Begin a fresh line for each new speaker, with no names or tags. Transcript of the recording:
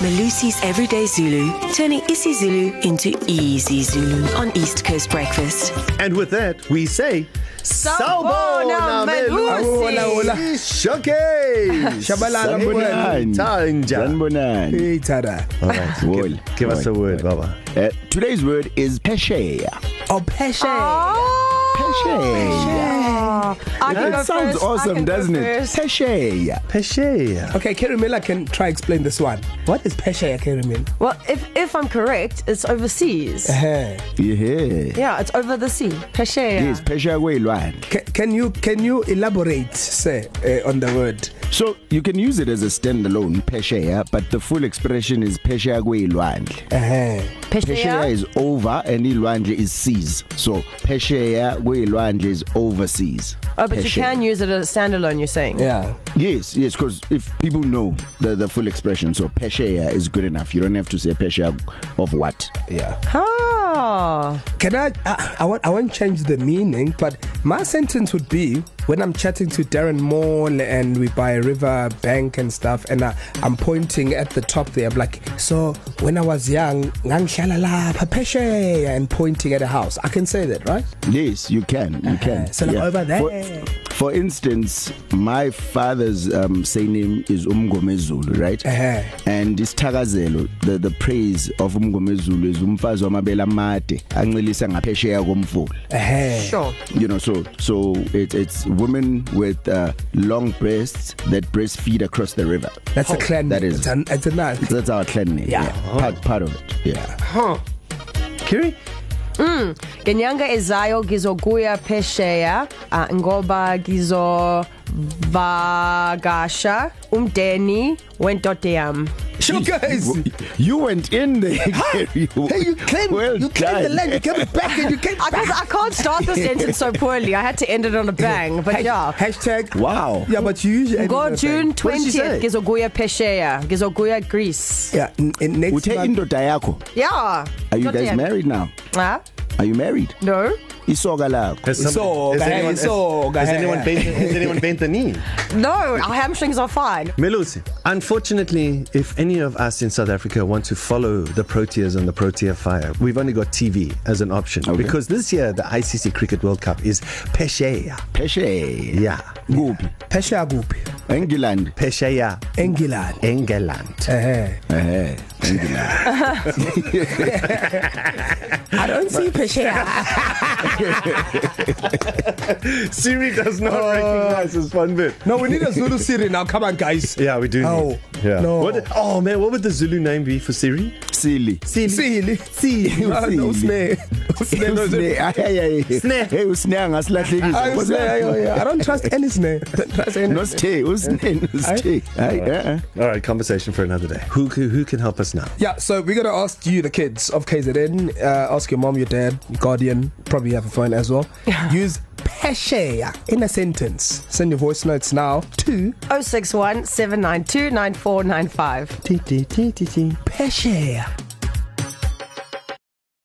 Malusi's Everyday Zulu, turning isiZulu into easy Zulu on East Coast Breakfast.
And with that, we say
Sawubona, Melusi.
Hola, hola.
Showcase.
Shabalala, Mbonani.
Tanja.
Sanbonani.
Hey, Tada.
Wall.
Give us a word, Baba.
Uh, today's word is peshe.
Oh, Peshe.
Peshe.
Ah. I can go
That sounds
first. I
awesome,
can go
doesn't it?
first.
Peshe.
Peshe.
Okay, Kerimela can try explain this one. What is Peshe, Kerimela?
Well, if if I'm correct, it's overseas.
Uh-huh.
Yeah.
Yeah, it's over the sea. Peshaya.
Yes, peshe kwelwane.
Can, can you can you elaborate, sir, uh, on the word?
So you can use it as a standalone peshe, but the full expression is peshe kwelwane.
Uh-huh.
Pesheya
Peshaya.
is over and ilwandle is seas. So pesheya kwilwandle is overseas.
Oh, but you
Phesheya.
can use it as standalone. You're saying.
Yeah.
Yes, yes, because if people know the, the full expression, so pesheya is good enough. You don't have to say pesheya of what.
Yeah.
Ah.
Can I I, I want I won't change the meaning, but my sentence would be when I'm chatting to Darren Moore and we buy a river bank and stuff and I, I'm pointing at the top there I'm like so when I was young ngangihlala lapha phesheya and pointing at a house. I can say that, right? Uh-huh.
Yes, you can. You can.
so like over there.
For, for instance, my father's um, say name is Umgomezulu, right?
Uh-huh.
And isithakazelo, the the praise of Umgomezulu is umfazi wamabele amade, anxilisa ngaphesheya komfula.
Eh.
Sure.
You know, so so it, it's women with uh, long breasts that breastfeed across the river.
That's oh, a clan.
That is.
It's an, it's a nice.
That's our clan name.
Yeah.
yeah. Part part of it. Yeah.
Kiri?
Genyanga ezayo gizoguya peshaya uh, ngoba gizo vagasha umdeni wendoda yam.
Sure, guys.
You, you went in there. Gary.
Hey, you claimed
well
well you claimed the
done.
land. You came back and you came
I,
back.
I can't start this sentence so poorly. I had to end it on a bang. But
Hash-
yeah.
Hashtag.
Wow.
Yeah, but you usually.
Go June
What did she
20th
say?
gizoguya peshaya gizoguya Greece.
Yeah. n- n- Next
Uthe
month.
indoda yakho.
Yeah.
Are you
Indoda
guys
yam.
married now?
Huh?
Are you married?
No.
Isoka lakho.
Has some-
Isoka,
has anyone-
isoka.
has- has anyone bent- Has anyone bent the knee?
No, our hamstrings are fine.
Melusi, unfortunately, if any of us in South Africa want to follow the Proteas and the Protea fire, we've only got TV as an option okay. because this year the ICC Cricket World Cup is Pesheya.
Phesheya.
Yeah.
Kuphi?
Phesheya kuphi?
England.
Pesheya,
England.
England.
Eh.
Eh.
I don't see Phesheya.
Siri does not uh, recognize this one bit.
No, we need a Zulu Siri now. Come on, guys.
Yeah, we do.
Oh,
need. yeah.
no.
What, oh, man, what would the Zulu name be for Siri?
Silly.
Siri. Siri.
Usile.
Ah, no, Usne. Usne. no,
Usne.
Usne.
Ay ay ay.
Sne.
Hey usne
Ah,
angasilahlekisa.
Usne. ayo, yeah. I don't trust any Sne. Don't trust any.
No stay. Usne. No stay. Ay. eh, eh.
All right, conversation for another day. Who, who, who can help us now?
Yeah, so we're gonna ask you, the kids of KZN, uh, ask your mom, your dad, your guardian, probably have a phone as well. Use pesheya in a sentence. Send your voice notes now to
061 792 9495.
pesheya.